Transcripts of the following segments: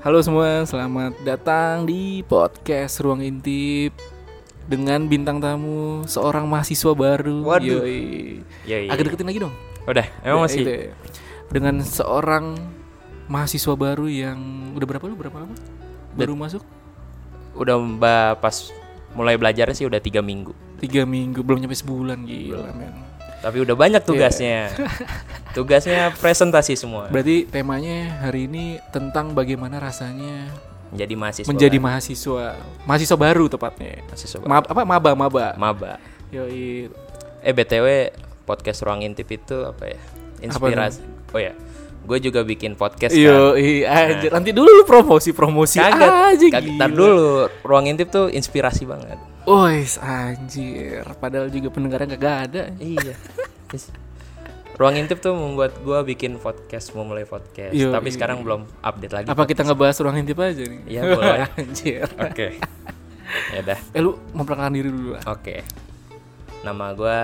Halo semua, selamat datang di podcast Ruang Intip dengan bintang tamu seorang mahasiswa baru. Waduh. Yoi. Yoi. Agak deketin lagi dong. Udah, Ya, emang masih. itu ya. Dengan seorang mahasiswa baru yang udah berapa lu berapa lama? Baru masuk? Udah mbak pas mulai belajarnya sih udah tiga minggu. Tiga minggu, belum nyampe sebulan gila men. Tapi udah banyak tugasnya. Iya. tugasnya presentasi semua. Berarti temanya hari ini tentang bagaimana rasanya Menjadi mahasiswa. menjadi mahasiswa, mahasiswa baru tepatnya. mahasiswa. Ma- apa maba maba. Maba. Yoi. Eh BTW podcast Ruang Intip itu apa ya? Inspirasi. Oh ya. Gue juga bikin podcast Iya, kan. Yoi, anjir. Nanti dulu lu promosi promosi Kagak, aja kagak. gila. Ntar dulu, Ruang Intip tuh inspirasi banget. Ois, anjir. Padahal juga pendengarnya kagak ada. Iya. Terus, Ruang Intip tuh membuat gua bikin podcast, memulai podcast. Yo, Tapi iya. sekarang belum update lagi. Apa kita ngebahas ruang intip aja nih? Iya, boleh. anjir. Oke. ya dah. Eh lu memperkenalkan diri dulu lah. Oke. Nama gua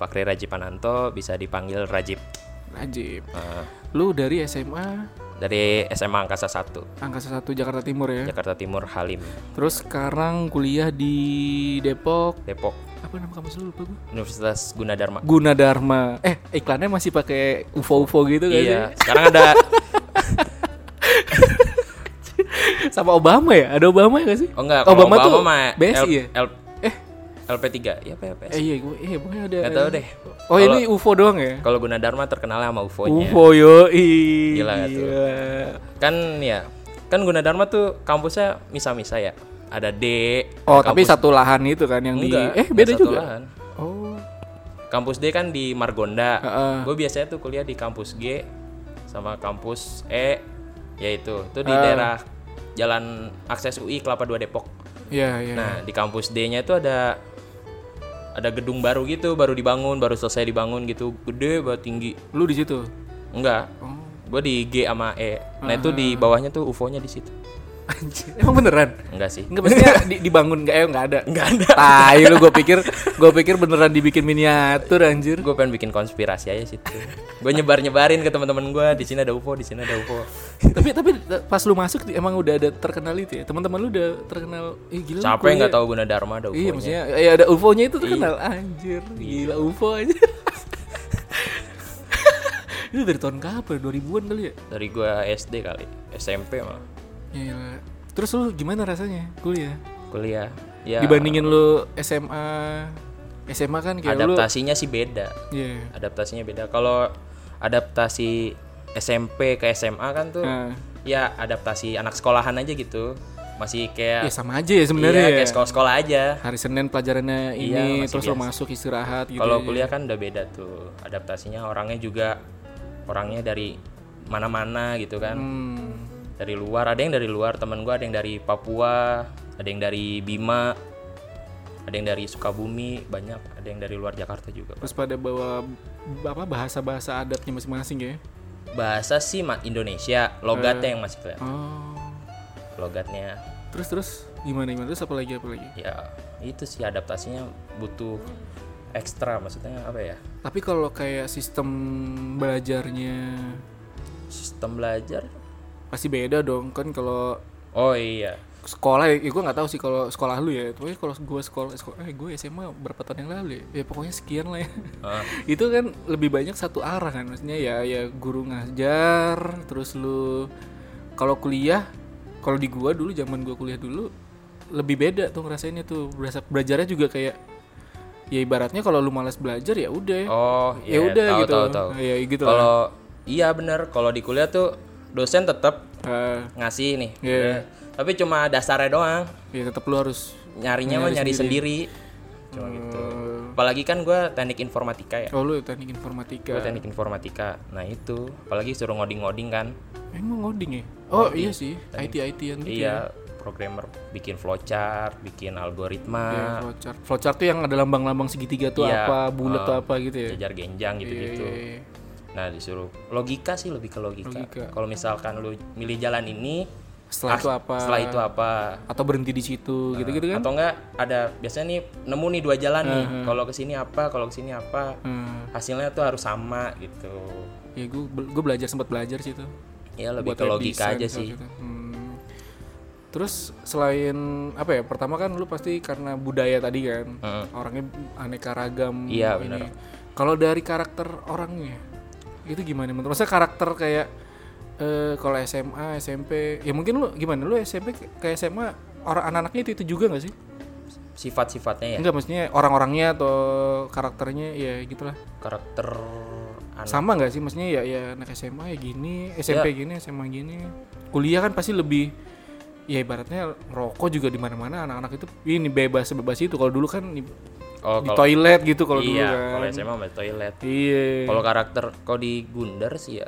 Fakri Rajipananto, bisa dipanggil Rajib. Najib. Eh, Lu dari SMA dari SMA Angkasa 1, Angkasa 1 Jakarta Timur ya. Jakarta Timur Halim, Terus sekarang kuliah di Depok. Depok, Apa nama kampus lu lupa gue? Universitas Gunadarma. Gunadarma. Eh, iklannya masih pakai UFO-UFO gitu kan Iya, sekarang ada Sama Obama ya? Ada Obama ya gak sih? Oh enggak, kalau Obama, tuh mah BSI L- ya? L- Eh. LP3. Ya apa ya Eh PS? iya, gue eh pokoknya ada. Enggak tahu deh. Oh, Kalau- ini UFO doang ya? Kalau Gunadarma terkenalnya sama UFO-nya. UFO yo. Gila, Gila nggak tuh? Kan ya, kan Gunadarma tuh kampusnya misa-misa ya. Ada D. Oh, ada tapi kampus- satu lahan itu kan yang Enggak, di eh ada beda satu juga. lahan. Oh. Kampus D kan di Margonda. Heeh. Gue biasanya tuh kuliah di kampus G sama kampus E, yaitu itu di Ah. daerah Jalan Akses UI Kelapa 2 Depok. Iya, iya. Nah, di kampus D-nya itu ada ada gedung baru gitu, baru dibangun, baru selesai dibangun gitu, gede banget tinggi. Lu di situ. Enggak. Oh. Gue di G sama E. Nah, itu di bawahnya tuh UFO-nya di situ. Anjir. Emang beneran? Enggak sih. Enggak maksudnya di- dibangun enggak eh enggak ada. Enggak ada. Tai lu gue pikir gue pikir beneran dibikin miniatur anjir. Gue pengen bikin konspirasi aja situ. Gue nyebar-nyebarin ke teman-teman gue, di sini ada UFO, di sini ada UFO. tapi tapi pas lu masuk di- emang udah ada terkenal itu ya. Teman-teman lu udah terkenal eh gila. lu Siapa yang kuliah- nggak tahu guna Dharma ada Iya UFO-nya? maksudnya ya ada UFO-nya itu terkenal anjir. Gila UFO aja. itu dari tahun kapan? 2000-an kali ya? Dari gua SD kali, SMP malah Ya, gila. Terus lu gimana rasanya kuliah? kuliah. Ya, Dibandingin lu SMA SMA kan kayak lu adaptasinya sih beda. Iya. Ya. Adaptasinya beda. Kalau adaptasi SMP ke SMA kan tuh Nah. ya adaptasi anak sekolahan aja gitu. Masih Ya kayak sama aja ya sebenarnya. iya, ya. kayak sekolah-sekolah aja. Hari Senin pelajarannya Iya, ini masih terus lu masuk istirahat gitu. Kalau ya. kuliah kan udah beda tuh. Adaptasinya orangnya juga orangnya dari mana-mana gitu kan. Hmm. dari luar ada yang dari luar teman gue ada yang dari Papua ada yang dari Bima ada yang dari Sukabumi banyak ada yang dari luar Jakarta juga Pak. Terus pada bawa apa bahasa-bahasa adatnya masing-masing ya. bahasa sih ma- Indonesia Hmm. logatnya yang masih kelihatan Oh. logatnya Terus terus gimana gimana terus apa lagi apa lagi? ya itu sih adaptasinya butuh ekstra maksudnya apa ya Tapi kalau kayak sistem belajarnya sistem belajar pasti beda dong kan kalau oh iya sekolah ya gue nggak tahu sih kalau sekolah lu ya pokoknya kalau gue sekolah, sekolah eh gue SMA berapa tahun yang lalu ya, ya pokoknya sekian lah ya Ah, itu kan lebih banyak satu arah kan maksudnya ya ya guru ngajar terus lu kalau kuliah kalau di gua dulu zaman gua kuliah dulu lebih beda tuh ngerasainnya tuh berasa belajarnya juga kayak ya ibaratnya kalau lu malas belajar ya udah oh ya iya udah tahu, gitu tahu, tahu. ya gitu lah. kalau iya bener kalau di kuliah tuh dosen tetap Eh, ngasih nih Iya. tapi cuma dasarnya doang ya tetap lu harus nyarinya mah nyari sendiri, cuma gitu apalagi kan gue teknik informatika ya oh lu teknik informatika gue teknik informatika nah itu apalagi suruh ngoding-ngoding kan emang ngoding ya oh iya sih IT IT an gitu ya. iya programmer bikin flowchart bikin Ya, algoritma flowchart flowchart tuh yang ada lambang-lambang segitiga tuh Iya, gitu. apa bulat tuh apa gitu ya jajar genjang Iya, gitu-gitu iya, iya. nah disuruh logika sih lebih ke logika, Logika. kalau misalkan lu milih jalan ini setelah Ah, itu apa setelah Nah. itu apa atau berhenti di situ gitu-gitu kan atau enggak ada biasanya nih nemu nih dua jalan nih kalau kesini apa kalau kesini apa Hmm, hasilnya tuh harus sama gitu ya gue gue belajar sempat belajar sih itu ya lebih Buat ke web design logika aja kalau sih gitu. Hmm. terus selain apa ya pertama kan lu pasti karena budaya tadi kan Heeh. orangnya aneka ragam Iya, ini. benar. kalau dari karakter orangnya itu gimana menurut saya karakter kayak eh, kalau SMA SMP ya mungkin lu gimana lu SMP kayak SMA orang anak-anaknya itu itu juga nggak sih sifat-sifatnya ya Enggak maksudnya orang-orangnya atau karakternya ya gitulah karakter anak sama nggak sih maksudnya ya ya anak SMA ya gini SMP gini SMA gini kuliah kan pasti lebih ya ibaratnya rokok juga di mana-mana anak-anak itu ini bebas bebas itu kalau dulu kan di, oh di kalau toilet gitu kalau dulu iya kan kalau SMA masih toilet iya kalau karakter kalau di Gundar sih ya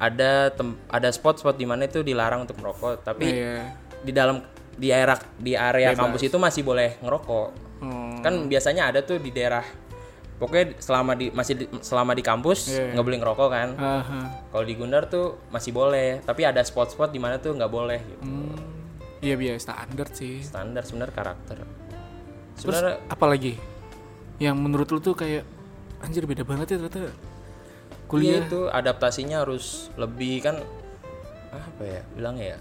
ada tem- ada spot-spot di mana itu dilarang untuk merokok tapi Iya. di dalam di area di area kampus itu masih boleh ngerokok Hmm. kan biasanya ada tuh di daerah pokoknya selama di masih di- selama di kampus Iya, iya. nggak boleh ngerokok kan Aha. kalau di Gundar tuh masih boleh tapi ada spot-spot di mana tuh nggak boleh gitu. Hmm. iya biasa standar sih standar sebenarnya karakter Hmm. terus sebenarnya apalagi yang menurut lu tuh kayak anjir beda banget ya ternyata kuliah kuliah Iya, itu adaptasinya harus lebih kan apa ya bilangnya ya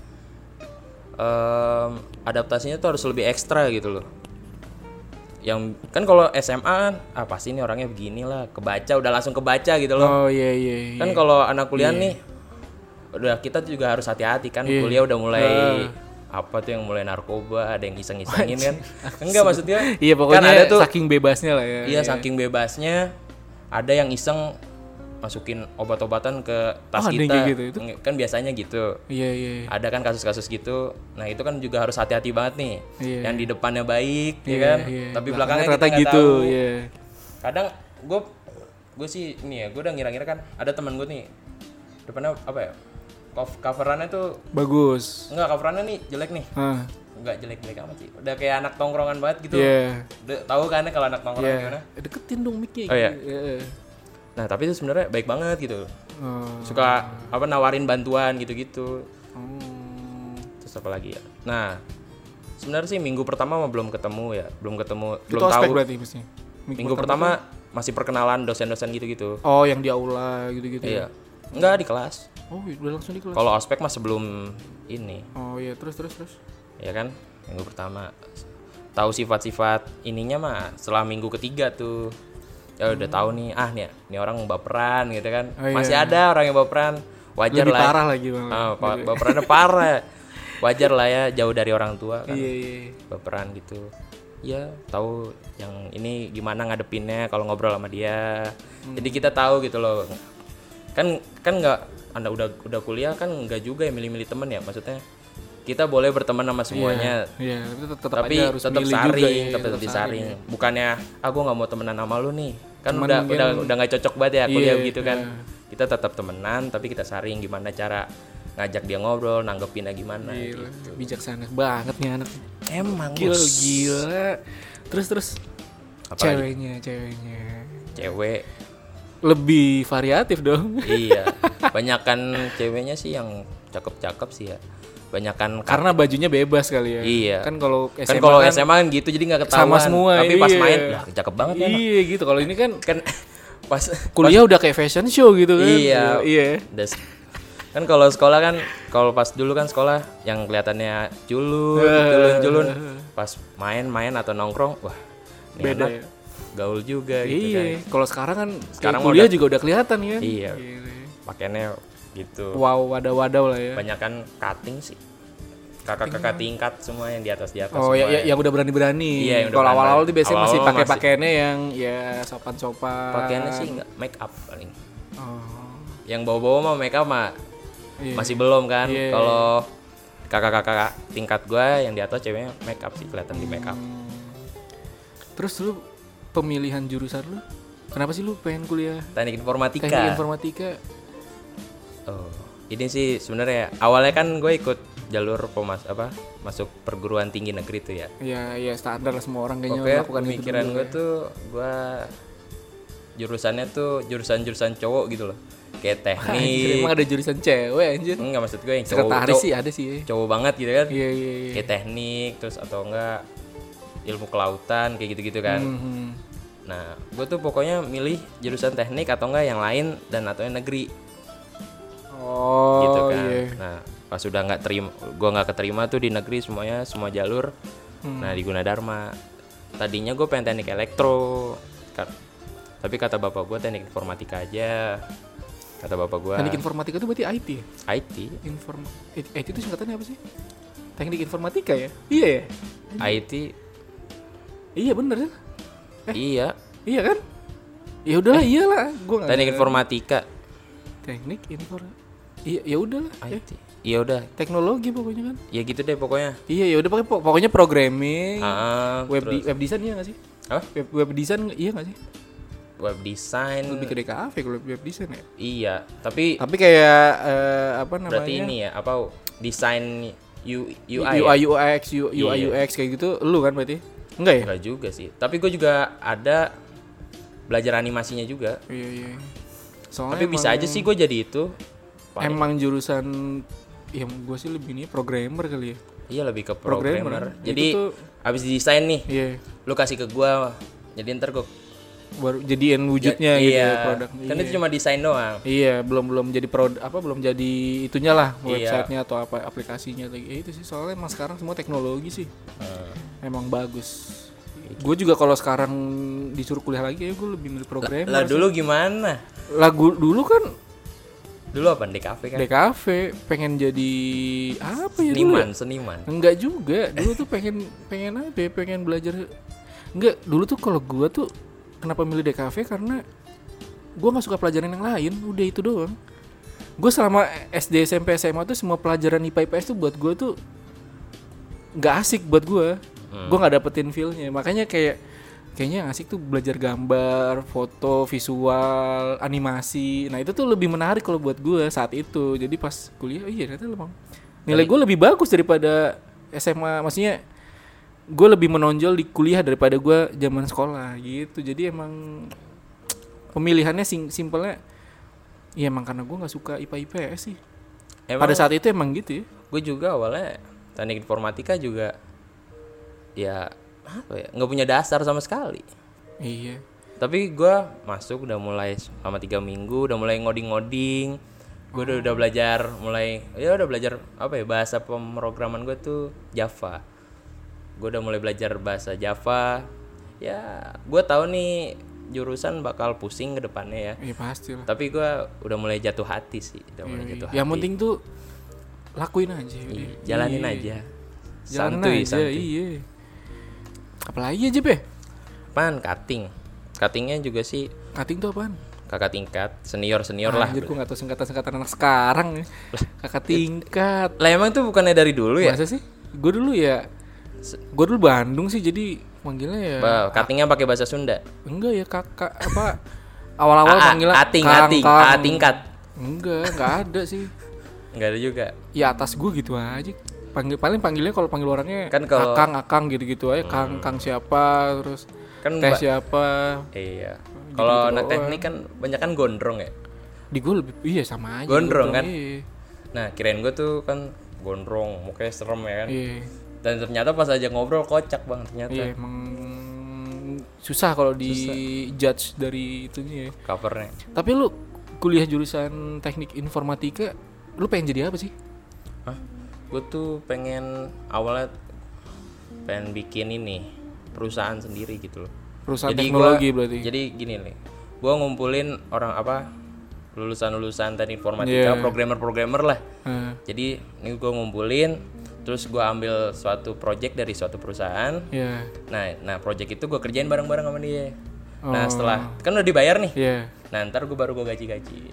Em, adaptasinya tuh harus lebih ekstra gitu loh yang kan kalau SMA kan, ah pasti nih orangnya beginilah kebaca udah langsung kebaca gitu oh loh iya iya, iya. Iya. kan kalau anak kuliah nih udah kita juga harus hati-hati kan kuliah udah mulai Ah. apa tuh yang mulai narkoba ada yang iseng-isengin kan enggak maksudnya iya pokoknya kan ada tuh saking bebasnya lah ya Iya, saking bebasnya ada yang iseng masukin obat-obatan ke tas Oh, ada yang kita. kayak gitu, itu? Nge- Kan biasanya gitu. iya iya iya. Ada kan kasus-kasus gitu. Nah, itu kan juga harus hati-hati banget nih. Iya. Yang di depannya baik, ya Iya, kan? iya. Tapi belakangnya kita ternyata nggak gitu tahu. iya. Kadang gue gue sih nih ya, gue udah ngira-ngira kan ada teman gue nih depannya apa ya? Cof- Coverannya tuh bagus enggak coverannya nih jelek nih. Hah, Enggak jelek-jelek amat sih. Udah kayak anak tongkrongan banget gitu. iya Udah Tahu kan ya kalau anak tongkrongan iya gimana? deketin dong gitu. mic Oh, iya. Nah, tapi itu sebenarnya baik banget gitu. oh. suka apa nawarin bantuan gitu-gitu Hmm. terus apa lagi ya nah sebenarnya sih minggu pertama mah belum ketemu ya belum ketemu itu belum tahu ospek berarti mestinya Mic minggu pertama masih perkenalan dosen-dosen gitu-gitu oh yang di aula gitu-gitu ya? iya enggak di kelas oh udah langsung di kelas kalau ospek mah sebelum ini oh iya terus terus terus ya kan minggu pertama tahu sifat-sifat ininya mah setelah minggu ketiga tuh ya udah tahu nih ah nih nih orang baperan gitu kan Hmm. Oh, iya. masih ada orang yang baperan wajar lebih lah parah lagi bang Ah, pa- baperannya parah. Wajar lah ya jauh dari orang tua kan. iya iya Baperan gitu. Ya, tahu yang ini gimana ngadepinnya kalau ngobrol sama dia. Jadi kita tahu gitu loh. Kan kan nggak Anda udah udah kuliah kan nggak juga ya milih-milih temen ya maksudnya. Kita boleh berteman sama semuanya. iya tapi tetap, tetap Tapi aja tetap harus saring, milih juga ya, tetap, disaring. Bukannya aku nggak mau temenan sama lu nih. Kan Cuman udah mungkin- udah udah nggak cocok banget ya kuliah Iya, gitu kan. Kita tetap temenan tapi kita saring gimana cara ngajak dia ngobrol, nanggepinnya gimana gitu. Gila, bijaksana banget nih anak Emang gila Gus. gila terus terus Apalagi? ceweknya ceweknya cewek. lebih variatif dong iya. Banyakan ceweknya sih yang cakep-cakep sih ya. Banyakan kar- karena bajunya bebas kali ya Iya. kan kalau kan SMA kalau kan SMA kan gitu jadi nggak ketahuan. Sama semua, Tapi pas iya. main, lah cakep banget ya. anak." iya gitu kalau ini kan Kan pas kuliah udah kayak fashion show gitu kan Iya. iya Das- kan kalau sekolah kan kalau pas dulu kan sekolah yang kelihatannya culun, Eh, culun, culun. Pas main-main atau nongkrong, wah ini Beda anak ya. gaul juga gitu iya kan. kalau sekarang kan Sekarang kayak kuliah udah- juga udah kelihatan kan Iya. Gila. Pakainya gitu. wow wadaw wadaw lah ya Banyak kan cutting sih. Kakak-kakak tingkat semua yang di atas di atas Oh semua. ya, ya, yang udah berani-berani. Iya, yang udah Kalau awal-awal berani. tuh biasanya masih Awal-awal pakai masih. pakaiannya yang ya sopan-sopan. Pakaiannya sih nggak make up paling. Oh, Yang bawa-bawa mah make up mah Iya. masih belum kan. Iya. Kalau kakak-kakak tingkat gua yang di atas ceweknya make up sih kelihatan di make up. Hmm. Terus lu pemilihan jurusan lu, kenapa sih lu pengen kuliah Teknik informatika. teknik informatika? Oh, ini sih sebenarnya awalnya kan gue ikut jalur pemas apa masuk perguruan tinggi negeri tuh ya. Ya, ya standar lah semua orang kayaknya Pokoknya melakukan itu pemikiran dulu gue ya. tuh gue jurusannya tuh jurusan-jurusan cowok gitu loh kayak Anjir, teknik emang ada jurusan cewek anjir. enggak maksud gue yang cowok Sekretaris Iya. cowok, sih ada sih. cowok banget gitu kan Iya iya iya. kayak teknik terus atau enggak ilmu kelautan kayak gitu-gitu kan Mhm. Nah, gue tuh pokoknya milih jurusan teknik atau enggak yang lain dan atau yang negeri Oh gitu kan. iya. Nah, pas udah nggak terima, gue nggak keterima tuh di negeri semuanya semua jalur. Hmm. Nah di Gunadarma, tadinya gue pengen teknik elektro, Ka- tapi kata bapak gue teknik informatika aja. Kata bapak gue Teknik informatika itu berarti IT. ya? IT, Inform IT IT itu singkatannya apa sih? Teknik informatika ya? Iya ya? IT, Iya bener kan? iya Iya kan? Ya udahlah iyalah, gua nggak Eh. teknik ada- informatika, Teknik infor Iya ya udahlah. ya. IT. Iya udah, Teknologi pokoknya kan. ya gitu deh pokoknya. Iya ya udah pokoknya pokoknya programming, Ah, Eh, web terus- di- web design iya nggak sih? apa? Web, web design iya nggak sih? Web design. Lebih ke DKV kalau web design ya. Iya, tapi Tapi kayak eh, apa namanya? berarti ini ya apa desain U, UI, UI, ya? UX, U- UI, Iya. UX kayak gitu lu kan berarti? Enggak ya? Enggak Eh, juga sih. Tapi gue juga ada belajar animasinya juga. Iya iya. Soalnya Tapi bisa aja ya. sih gue jadi itu. Paling- Emang jurusan yang gue sih lebih ini programmer kali ya. Iya lebih ke programmer. Programmer. Itu Jadi tuh- abis desain nih, Iya. lu kasih ke gue. Jadi ntar gue Baru jadiin wujudnya gitu iya. ya produk. Kan Iya. itu cuma desain doang. Iya, belum belum jadi produk apa belum jadi itunya lah Iya. websitenya atau apa aplikasinya lagi. Ya itu sih soalnya emang sekarang semua teknologi sih. Emang bagus. Gue juga kalau sekarang disuruh kuliah lagi ya gue lebih milih programmer. lah dulu gimana? Lagu dulu kan Dulu apa di kafe kan? DKV pengen jadi apa ya Oh, iya, dulu? Seniman, seniman. Enggak juga. Dulu tuh pengen pengen apa? ya, Pengen belajar. Enggak, dulu tuh kalau gua tuh kenapa milih DKV karena gua nggak suka pelajaran yang lain, udah itu doang. Gue selama SD, SMP, SMA tuh semua pelajaran IPA IPS tuh buat gua tuh nggak asik buat gua. Gua nggak dapetin feelnya. Makanya kayak kayaknya yang asik tuh belajar gambar, foto, visual, animasi. Nah itu tuh lebih menarik kalau buat gua saat itu. Jadi pas kuliah, oh iya ternyata emang nilai gua lebih bagus daripada SMA. Maksudnya gue lebih menonjol di kuliah daripada gua zaman sekolah gitu. Jadi emang pemilihannya sing simpelnya, ya emang karena gua nggak suka IPA IPS sih. Emang Pada saat itu emang gitu ya. gue juga awalnya teknik informatika juga ya apa ya nggak punya dasar sama sekali Iya. tapi gue masuk udah mulai selama tiga minggu udah mulai ngoding-ngoding gue udah, udah belajar mulai ya udah belajar apa ya bahasa pemrograman gue tuh Java gue udah mulai belajar bahasa Java ya gue tahu nih jurusan bakal pusing ke depannya ya Iya pasti lah. tapi gue udah mulai jatuh hati sih udah mulai jatuh gitu, hati Yang penting tuh lakuin aja. udah. Iya, jalanin Iya. aja Jalanin santuy aja. santuy Iya. Apalagi aja Be? Apaan? Cutting. Cuttingnya juga sih Cutting tuh apaan? kakak tingkat, senior senior Ya lah. Anjir gua gak tau singkatan-singkatan anak sekarang ya. Kakak tingkat. Lah emang tuh bukannya dari dulu ya? Masa sih? Gue dulu ya Gue dulu Bandung sih jadi manggilnya ya Bah, cuttingnya pakai bahasa Sunda. Enggak ya kakak apa Awal-awal Aa, manggilnya Ah, ating, Kang, ating, Kang. A tingkat. Enggak, enggak ada sih Enggak ada juga. ya atas gue gitu aja panggil paling panggilnya kalau panggil orangnya Kan kalau- Hmm. akang akang gitu gitu aja kang kang siapa terus Kan teh ba- siapa Iya. Kalau anak teknik kan banyak kan gondrong ya. di gue lebih iya sama aja Gondrong, kan? iya, Nah, kirain gue tuh kan gondrong, mukanya serem ya kan. iya, Dan ternyata pas aja ngobrol kocak bang ternyata iya, emang susah kalau di judge dari itunya ya. covernya. tapi lu kuliah jurusan teknik informatika lu pengen jadi apa sih Hah? Gue tuh pengen awalnya pengen bikin ini perusahaan sendiri gitu loh. perusahaan Jadi teknologi gua- berarti Jadi gini nih, gua ngumpulin orang apa lulusan-lulusan teknik Iya. informatika, programmer-programmer lah. Eh, Jadi ini gua ngumpulin, terus gua ambil suatu project dari suatu perusahaan. ya Nah, nah project itu gua kerjain bareng-bareng sama dia. Nah Oh. setelah kan udah dibayar nih, ya nah ntar gue baru gua gaji-gaji.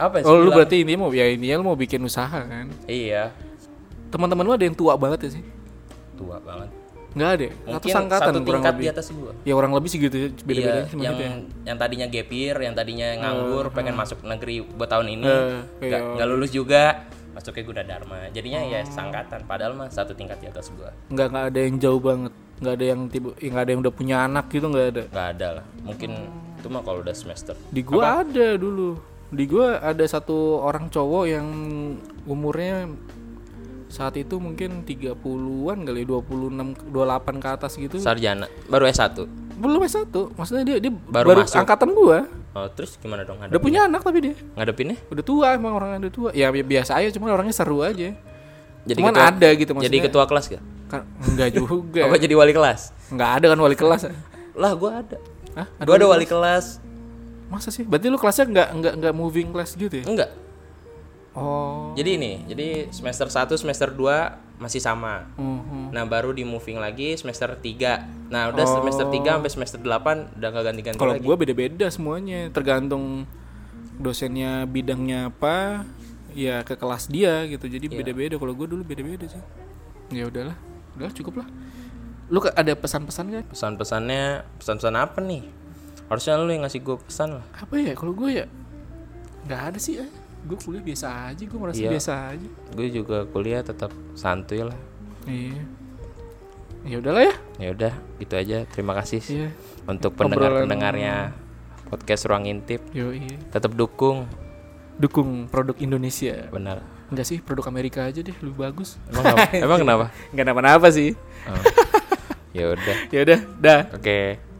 Apa sih? oh lu berarti ini mau ya intinya lu mau bikin usaha kan Iya, teman-teman lu ada yang tua banget ya sih tua banget. nggak ada ya? satu Mungkin sangkatan satu kurang tingkat lebih di atas gua. ya orang lebih segitu ya beda-bedanya Iya, cuma yang gitu ya yang tadinya gapir, yang tadinya nganggur, pengen masuk negeri buat tahun ini, Oh, Eh, nggak nggak lulus juga, masuknya Gunadarma. Jadinya Oh. ya sangkatan, padahal mah satu tingkat di atas gua. nggak nggak ada yang jauh banget nggak ada yang tiba ya, nggak ada yang udah punya anak gitu nggak ada Nggak ada lah, mungkin itu mah kalau udah semester Di gua ada dulu. Di gua ada satu orang cowok yang umurnya saat itu mungkin 30-an kali ya, 26 28 ke atas gitu. sarjana baru S1 Belum S1. Maksudnya dia dia Baru baru, masuk. angkatan gua. oh, terus gimana dong Udah ngadep punya anak tapi dia ngadepinnya udah tua emang orang udah tua. Ya bi- biasa aja cuman orangnya seru aja. jadi cuman ketua, ada gitu jadi maksudnya. ketua kelas gak Kan- enggak juga. apa jadi wali kelas enggak ada kan wali kelas. lah gua ada Hah? Ada gua ada wali kelas Masa sih? Berarti lu kelasnya enggak enggak enggak moving class gitu ya? enggak Oh. jadi ini jadi semester 1 semester 2 masih sama Mhm. Nah baru di moving lagi semester 3 Nah udah semester 3 sampai semester 8 udah gak ganti-ganti Oh. Kalau lagi gua beda-beda semuanya, tergantung dosennya bidangnya apa, ya ke kelas dia gitu. Jadi beda-beda. Kalau gua dulu beda-beda sih. Ya udahlah, udahlah cukup lah. Lu ke- ada pesan-pesan gak? Pesan-pesannya, pesan-pesan apa nih? Harusnya lu yang ngasih gue pesan lah Apa ya? Kalau gua ya nggak ada sih. Eh. Gue kuliah biasa aja, gua merasa Iya. biasa aja. Gue juga kuliah tetap santuy lah Iya. Ya udahlah ya. ya udah gitu aja terima kasih Iya. untuk Obrolan- pendengar-pendengarnya podcast ruang intip Yo iya. tetap dukung Dukung produk Indonesia. benar Enggak sih, produk Amerika aja deh lebih bagus. emang kenapa, emang kenapa? Enggak kenapa-napa sih. Oh. ya udah Ya udah, dah. oke